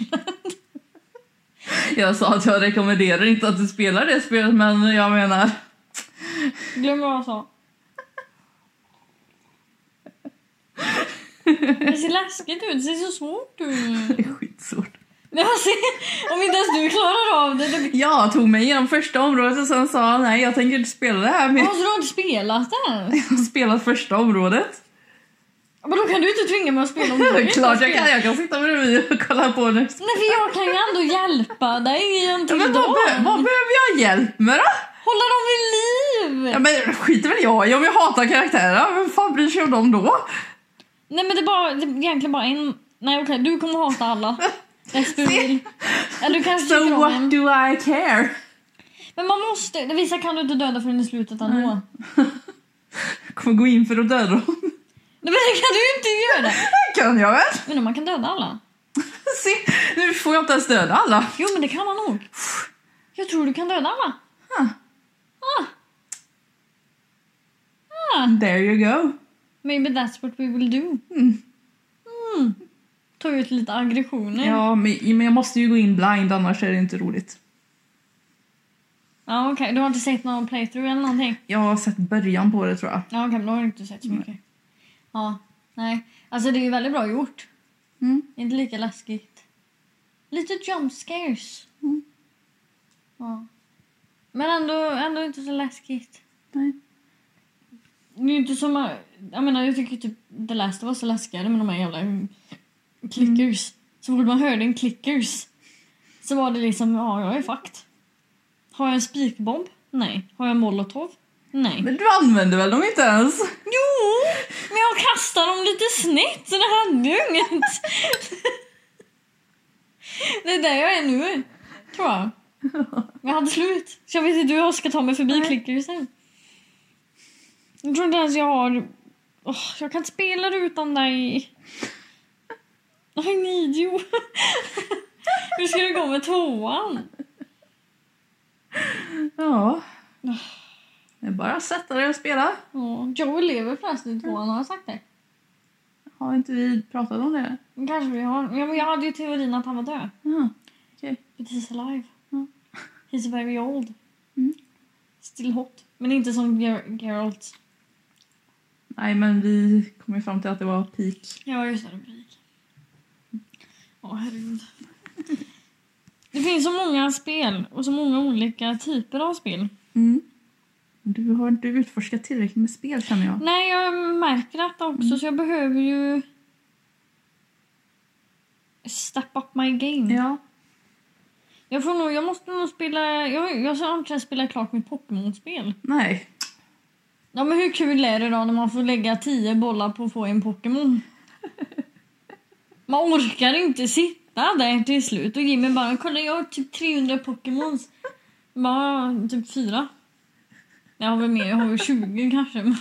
S2: Jag sa att jag rekommenderar inte att du spelar det spelet men jag menar... [laughs]
S1: Glöm vad jag sa. Det ser läskigt ut. Det ser så svårt ut.
S2: Det är skitsvårt.
S1: Men jag ser- Om inte ens du klarar av det. det blir...
S2: Jag tog mig igenom första området och sen sa jag, nej jag tänker inte spela det här men
S1: Alltså, du har inte spelat det?
S2: jag har spelat första
S1: [laughs]
S2: området.
S1: Men då kan du inte tvinga mig att spela om du inte har
S2: [laughs] Klart jag kan,
S1: spelat.
S2: jag kan sitta bredvid och kolla på nu.
S1: Nej, för jag kan ju ändå hjälpa dig i en
S2: Ja,
S1: till
S2: men vad,
S1: dag.
S2: be- vad behöver jag hjälp med då?
S1: Hålla dem vid liv!
S2: Ja, men skiter väl jag i om jag hatar karaktärerna, vem fan bryr sig om dem då?
S1: Nej men det är, bara, det är egentligen bara en... Nej okej, du kommer hata
S2: [laughs]
S1: alla. Resten vill. Eller du kanske tycker
S2: So
S1: om
S2: what
S1: en.
S2: do I care?
S1: Men man måste... Vissa kan du inte döda förrän i slutet ändå.
S2: Nej. Jag kommer gå in för att döda dem. [laughs]
S1: Nej men det kan du ju inte göra!
S2: kan jag väl?
S1: Men man kan döda alla.
S2: Se, nu får jag inte ens döda alla.
S1: Jo, men det kan man nog. Jag tror du kan döda alla.
S2: Huh. There you go.
S1: Maybe that's what we will do.
S2: Mm.
S1: Mm. Ta ut lite aggressioner.
S2: Ja, men, men jag måste ju gå in blind annars är det inte roligt.
S1: Ja, okej. Du har inte sett någon playthrough eller någonting?
S2: Jag har sett början på det tror jag.
S1: Ja, okej, men då har du inte sett så mycket. Ja, nej. Alltså det är ju väldigt bra gjort.
S2: Mm.
S1: Inte lika läskigt. Lite jump scares.
S2: Mm.
S1: Ja. Men ändå, ändå inte så läskigt.
S2: Nej.
S1: Det är ju inte som... Jag menar, jag tycker typ The Last of Us är läskigare med de här jävla mm, clickers.
S2: Mm.
S1: Så fort man hörde en clickers så var det liksom, ja, jag är fucked. Har jag en spikbomb? Nej. Har jag en molotov? Nej.
S2: Men du använder väl dem inte ens?
S1: Jo, men jag kastade dem lite snett så det hände ju inget. Det är där jag är nu, tror jag. Jag hade slut, så jag vet inte hur jag ska ta mig förbi
S2: Nej.
S1: klickersen. Jag tror inte ens jag har... Åh, jag kan inte spela utan dig. I need you. Hur ska det gå med tvåan?
S2: Ja. Det är bara att sätta dig och spela.
S1: Oh, Joel lever förresten i tvåan, har jag sagt det?
S2: Har inte vi pratat om det?
S1: Kanske vi har. Ja, men jag hade ju teorin att han var död.
S2: Ja.
S1: But he's alive. Mm.
S2: Ja.
S1: He's very old.
S2: Mm.
S1: Still hot. Men inte som Ger- Geralt.
S2: Nej, men vi kom ju fram till att det var peak.
S1: Ja, just det. Rubrik. Åh, herregud. Det finns så många spel och så många olika typer av spel.
S2: Mm. Du har inte utforskat tillräckligt med spel känner jag.
S1: Nej, jag märker detta också så jag behöver ju step up my game.
S2: Ja.
S1: Jag får nog, jag måste nog spela, jag, jag har inte spela klart mitt Pokémon-spel.
S2: Nej.
S1: Ja, men hur kul är det då när man får lägga tio bollar på att få en Pokémon? Man orkar inte sitta där till slut och Jimmy bara “kolla jag har typ 300 Pokémons”. Bara typ fyra. Jag har väl mer, jag har väl 20 kanske. Men...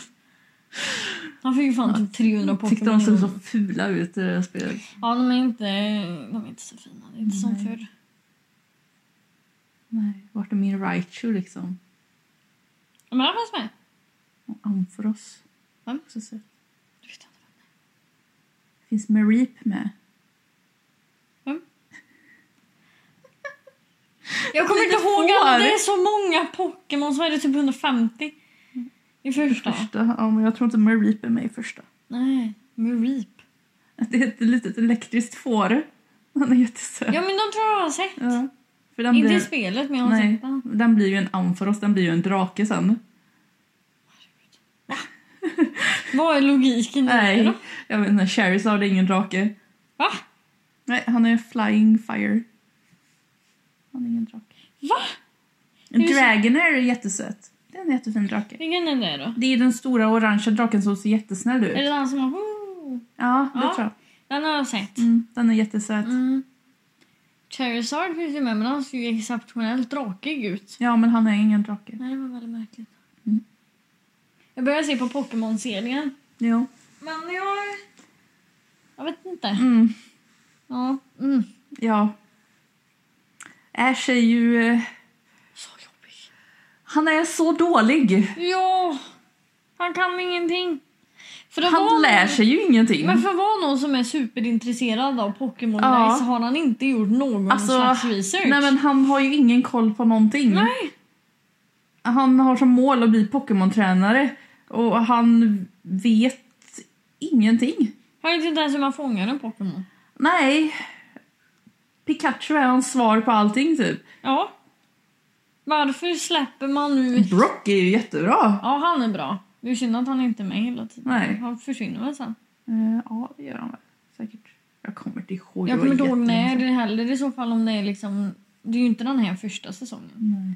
S1: Han fick ju fan typ 300
S2: Tyckte de såg så
S1: Pokémon.
S2: fula ut eh, i det här spelet.
S1: Ja, de är inte, de är inte så fina. Det är inte som
S2: Nej.
S1: förr.
S2: Nej. Vart är min Raichu liksom?
S1: Ja, Men han fanns med.
S2: Och Ampharos.
S1: Mm.
S2: Också sött.
S1: Du vet inte.
S2: Finns Mareep med?
S1: Jag kommer inte
S2: Lite
S1: ihåg
S2: får.
S1: att det är så många Pokémon. Så är det typ 150 i första.
S2: Första. Ja, men jag tror inte Mareep är med i första.
S1: Nej, med reap.
S2: Det är ett litet elektriskt får. Han är jättesöt.
S1: Ja men de tror jag har sett.
S2: Ja. För den
S1: Inte i
S2: blir...
S1: spelet men jag har
S2: Nej,
S1: sett den.
S2: den blir ju en Ampharos, den blir ju en drake sen.
S1: Vad är logiken i det
S2: Nej,
S1: då?
S2: jag vet inte. Charizard är ingen drake.
S1: Va?
S2: Nej, han är flying fire. Han är ingen drake.
S1: Va?
S2: En
S1: Hur ser-
S2: Dragonair är jättesöt. Det är en jättefin drake.
S1: Vilken är det då?
S2: Det är den stora orangea draken som ser jättesnäll
S1: Är det
S2: ut.
S1: den som har... Woo!
S2: Ja, det
S1: Ja.
S2: tror jag.
S1: Den har jag sett.
S2: Mm, den är jättesöt.
S1: Mm. Charizard finns ju med men han ser ju exceptionellt drakig ut.
S2: Ja, men han är ingen drake.
S1: Nej det var väldigt märkligt.
S2: Mm.
S1: Jag börjar se på Pokémon-serien.
S2: Jo.
S1: Men jag... Jag vet inte.
S2: Mm,
S1: Ja. Mm.
S2: ja. Ash är ju... eh,
S1: Så jobbig.
S2: Han är så dålig.
S1: Ja. Han kan ingenting. För det var-
S2: Han lär sig ju ingenting.
S1: Men för att vara någon som är superintresserad av Pokémon
S2: Mm. Ja.
S1: så har han inte gjort någon
S2: Alltså,
S1: slags research. Mm.
S2: Nej men han har ju ingen koll på någonting.
S1: Nej.
S2: Han har som mål att bli Pokémon-tränare och han vet ingenting.
S1: Han vet inte ens hur man fångar en Pokémon.
S2: Nej. Pikachu är hans svar på allting typ.
S1: Ja. Varför släpper man ut...
S2: Brock är ju jättebra.
S1: Ja, han är bra. Det är synd att han inte är med hela tiden.
S2: Nej.
S1: Han försvinner väl sen.
S2: Eh, ja, det gör han väl. Säkert. Jag kommer inte ihåg.
S1: Jag
S2: det
S1: kommer
S2: var
S1: inte ihåg
S2: jättelänge
S1: när
S2: sedan.
S1: det heller i så fall om det är liksom... Det är ju inte den här första säsongen.
S2: Nej.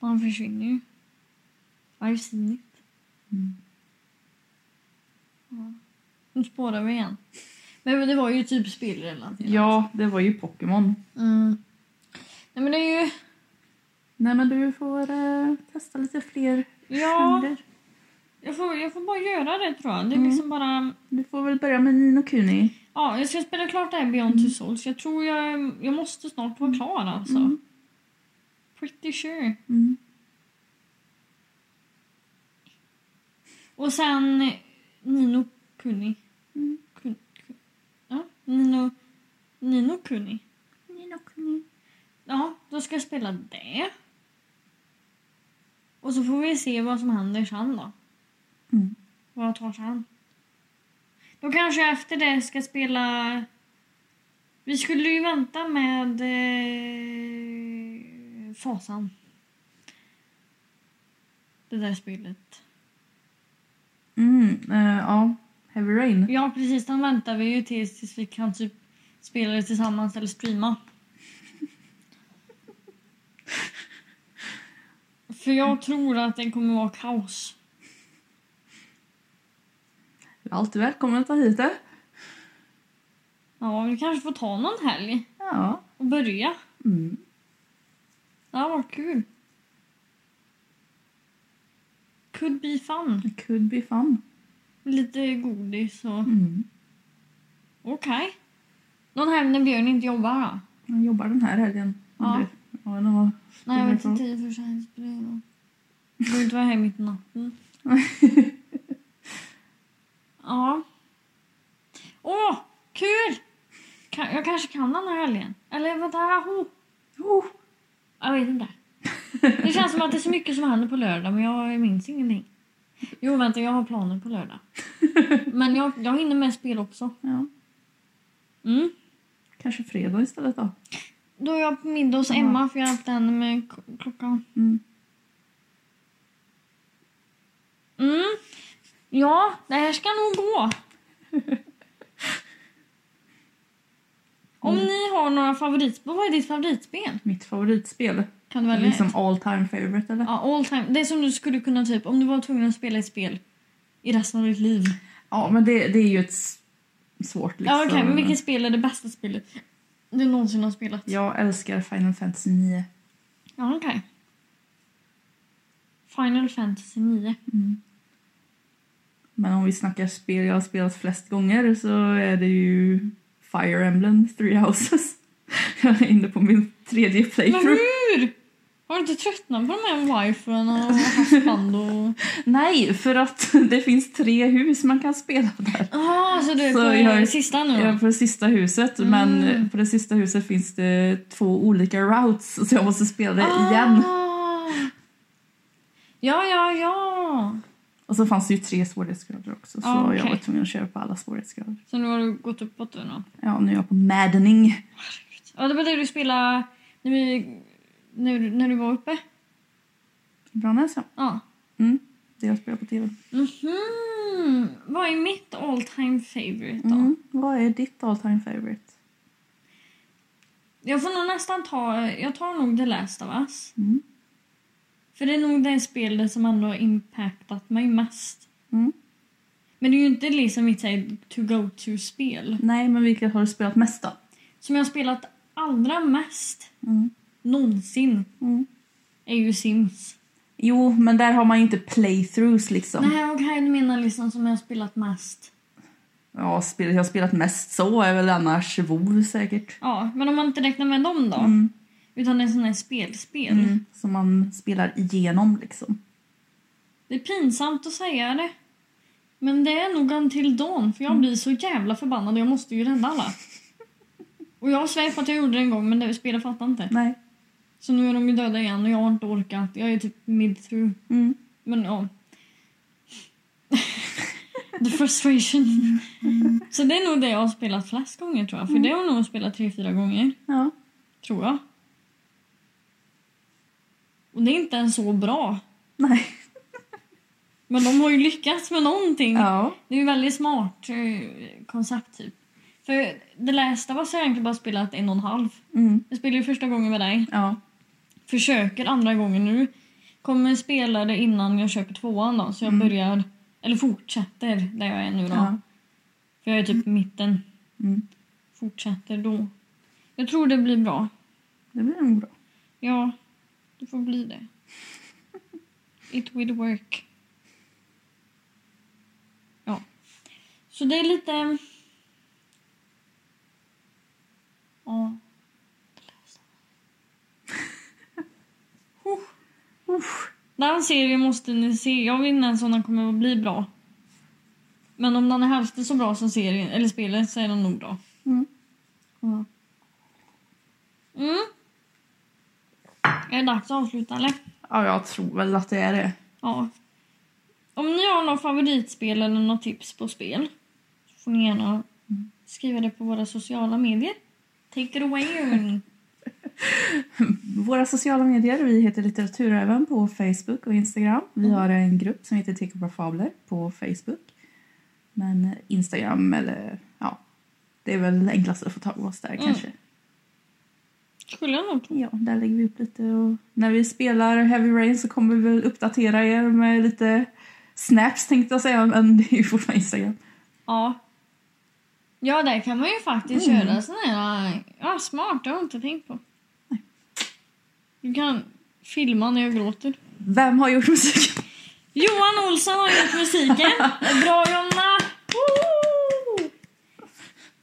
S1: Han försvinner ju. I've seen it.
S2: Mm.
S1: Ja. Nu spårar vi igen. Men det var ju typ spelrelaterat.
S2: Ja, det var ju Pokémon.
S1: Mm. Nej men det är ju...
S2: Nej men du får eh, testa lite fler
S1: Ja.
S2: genrer.
S1: Jag får, jag får bara göra det tror jag. Det är
S2: Mm.
S1: liksom bara...
S2: Du får väl börja med Nino Kuni.
S1: Ja, jag ska spela klart det här Beyond Two Souls. Jag tror jag, jag måste snart vara klar alltså.
S2: Mm.
S1: Pretty sure.
S2: Mm.
S1: Och sen Nino Kuni.
S2: Mm.
S1: Kun, kun, ja, Nino, Nino Kuni.
S2: Nino Kuni.
S1: Ja, då ska jag spela det. Och så får vi se vad som händer sen då.
S2: Mm.
S1: Vad tar sen? Då kanske jag efter det ska spela... Vi skulle ju vänta med eh, Fasan. Det där spelet.
S2: Mm, eh, ja. Heavy Rain.
S1: Ja, precis. Den väntar vi ju tills, tills vi kan typ spela det tillsammans eller streama. För jag tror att den kommer vara kaos.
S2: Du är alltid välkommen att ta hit eh? det.
S1: Ja, vi kanske får ta någon helg
S2: Ja.
S1: och börja.
S2: Mm.
S1: Det har varit kul. Could be fun.
S2: It could be fun.
S1: Lite godis och...
S2: Mm.
S1: Okej. Någon helg när Björn inte jobbar då?
S2: Jag jobbar den här helgen.
S1: Ja.
S2: Du- Ja, det var...
S1: Nej, jag
S2: Spelar
S1: vet
S2: det
S1: inte. I och för sig det spelar ingen roll. Du behöver inte vara här mitt i natten. [laughs] ja. Åh, kul! Ka- Jag kanske kan den här helgen. Eller vänta, ho.
S2: Oh.
S1: Jag vet inte. Det känns som att det är så mycket som händer på lördag men jag minns ingenting. Jo, vänta, jag har planer på lördag. Men jag, jag hinner med spel också.
S2: Ja.
S1: Mm.
S2: Kanske fredag istället då.
S1: Då är jag på middag hos
S2: Mm.
S1: Emma för jag hjälpte henne med k- klockan.
S2: Mm.
S1: Mm. Ja, det här ska nog gå. Om
S2: Mm.
S1: ni har några favoritspel, vad är ditt favoritspel?
S2: Mitt favoritspel.
S1: Kan du välja
S2: Liksom
S1: ett?
S2: all time favorite eller?
S1: Ja, all time. Det som du skulle kunna typ, om du var tvungen att spela ett spel i resten av ditt liv.
S2: Ja, men det, det är ju ett s- svårt liksom.
S1: Ja, okej, men vilket spel är det bästa spelet du någonsin har spelat?
S2: Jag älskar Final Fantasy 9.
S1: Ja, okej. Final Fantasy 9.
S2: Mm. Men om vi snackar spel jag har spelat flest gånger så är det ju Fire Emblem Three Houses. [laughs] Jag är inne på min tredje
S1: Men
S2: playthrough.
S1: hur? Har du inte tröttnat på de här wifen och husband
S2: [laughs]
S1: och...
S2: Nej, för att [laughs] det finns tre hus man kan spela där.
S1: Jaha, Ah, så du är
S2: Ah, Så
S1: på
S2: jag är-
S1: sista nu
S2: Jag är
S1: då?
S2: på det sista huset,
S1: Mm.
S2: men på det sista huset finns det två olika routes så jag måste spela det igen.
S1: Ah. Ja, ja, ja.
S2: Och så fanns det ju tre svårighetsgrader också så
S1: Ah, okej.
S2: jag var tvungen att köra på alla svårighetsgrader.
S1: Så nu har du gått uppåt då? då.
S2: Ja, nu är jag på maddening.
S1: Ja, det var det du spelade när, vi, när, du- när du var uppe?
S2: Bra näsa.
S1: Ja.
S2: Mm. Det jag spelar på tv.
S1: Mhm. Vad är mitt all time favorite då?
S2: Mm. Vad är ditt all time favorite?
S1: Jag får nog nästan ta... Jag tar nog The Last of Us.
S2: Mm.
S1: För det är nog det spelet som ändå har impactat mig mest.
S2: Mm.
S1: Men det är ju inte liksom mitt såhär to-go-to-spel.
S2: Nej, men vilket har du spelat mest då?
S1: Som jag har spelat allra mest
S2: Mm.
S1: någonsin
S2: Mm.
S1: är ju Sims.
S2: Jo, men där har man ju inte playthroughs liksom.
S1: Nej, okej, du menar liksom som jag har spelat mest.
S2: Ja, spelet jag har spelat mest så är väl annars WoW säkert.
S1: Ja, men om man inte räknar med dem då?
S2: Mm.
S1: Utan det är sån här spelspel.
S2: Mm. Som man spelar igenom liksom.
S1: Det är pinsamt att säga det. Men det är nog until dawn för jag
S2: Mm.
S1: blir så jävla förbannad och jag måste ju rädda alla. Och jag svär på att jag gjorde det en gång men det spelet fattar inte.
S2: Nej.
S1: Så nu är de ju döda igen och jag har inte orkat. Jag är typ mid through.
S2: Mm.
S1: Men ja. [laughs] The
S2: [laughs]
S1: frustration. Så det är nog det jag har spelat flest gånger tror
S2: Mm.
S1: jag. För det har jag nog spelat tre, fyra gånger.
S2: Ja.
S1: Tror jag. Och det är inte ens så bra.
S2: Nej.
S1: [laughs] Men de har ju lyckats med någonting.
S2: Ja.
S1: Det är ju väldigt smart eh, koncept typ. För det lästa var så jag egentligen bara spelat en och en halv.
S2: Mm.
S1: Jag spelade ju första gången med dig.
S2: Ja.
S1: Försöker andra gången nu. Kommer spela det innan jag köper tvåan då. Så jag börjar, eller fortsätter där jag är nu då.
S2: Mm. Ja.
S1: För jag är typ i mitten.
S2: Mm.
S1: Fortsätter då. Jag tror det blir bra.
S2: Det blir nog bra.
S1: Ja, det får bli det. It will work. Så det är lite... Ja. Den serien måste ni se. Jag vet inte ens om den kommer att bli bra. Men om den är hälften så bra som serien, eller spelet så är den nog bra.
S2: Mm.
S1: Mm. Mm. Är det dags att avsluta eller?
S2: Ja, jag tror väl att det är det.
S1: Ja. Om ni har något favoritspel eller något tips på spel så får ni gärna skriva det på våra sociala medier. Take it away Jörn.
S2: Våra sociala medier, vi heter Litteraturräven på Facebook och Instagram. Vi har en grupp som heter Tekobra Fabler på Facebook. Men Instagram eller ja, det är väl enklast att få tag på oss där kanske.
S1: Skulle jag nog tro.
S2: Ja, där lägger vi upp lite och när vi spelar Heavy Rain så kommer vi väl uppdatera er med lite snaps tänkte jag säga, men det är ju fortfarande Instagram.
S1: Ja. Ja, där kan man ju faktiskt
S2: Mm.
S1: göra såna här... Ja, smart. Det har jag inte tänkt på. Du kan filma när jag gråter.
S2: Vem har gjort musiken?
S1: Johan Olsson har gjort musiken. Bra Jonna! Woo!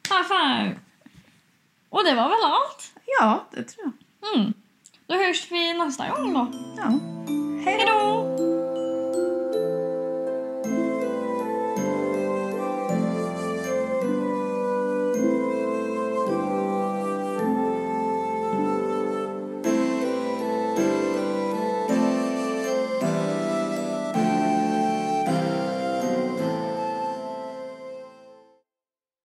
S1: High five! Och det var väl allt.
S2: Ja, det tror jag.
S1: Mm. Då hörs vi nästa gång då.
S2: Ja.
S1: Hej då!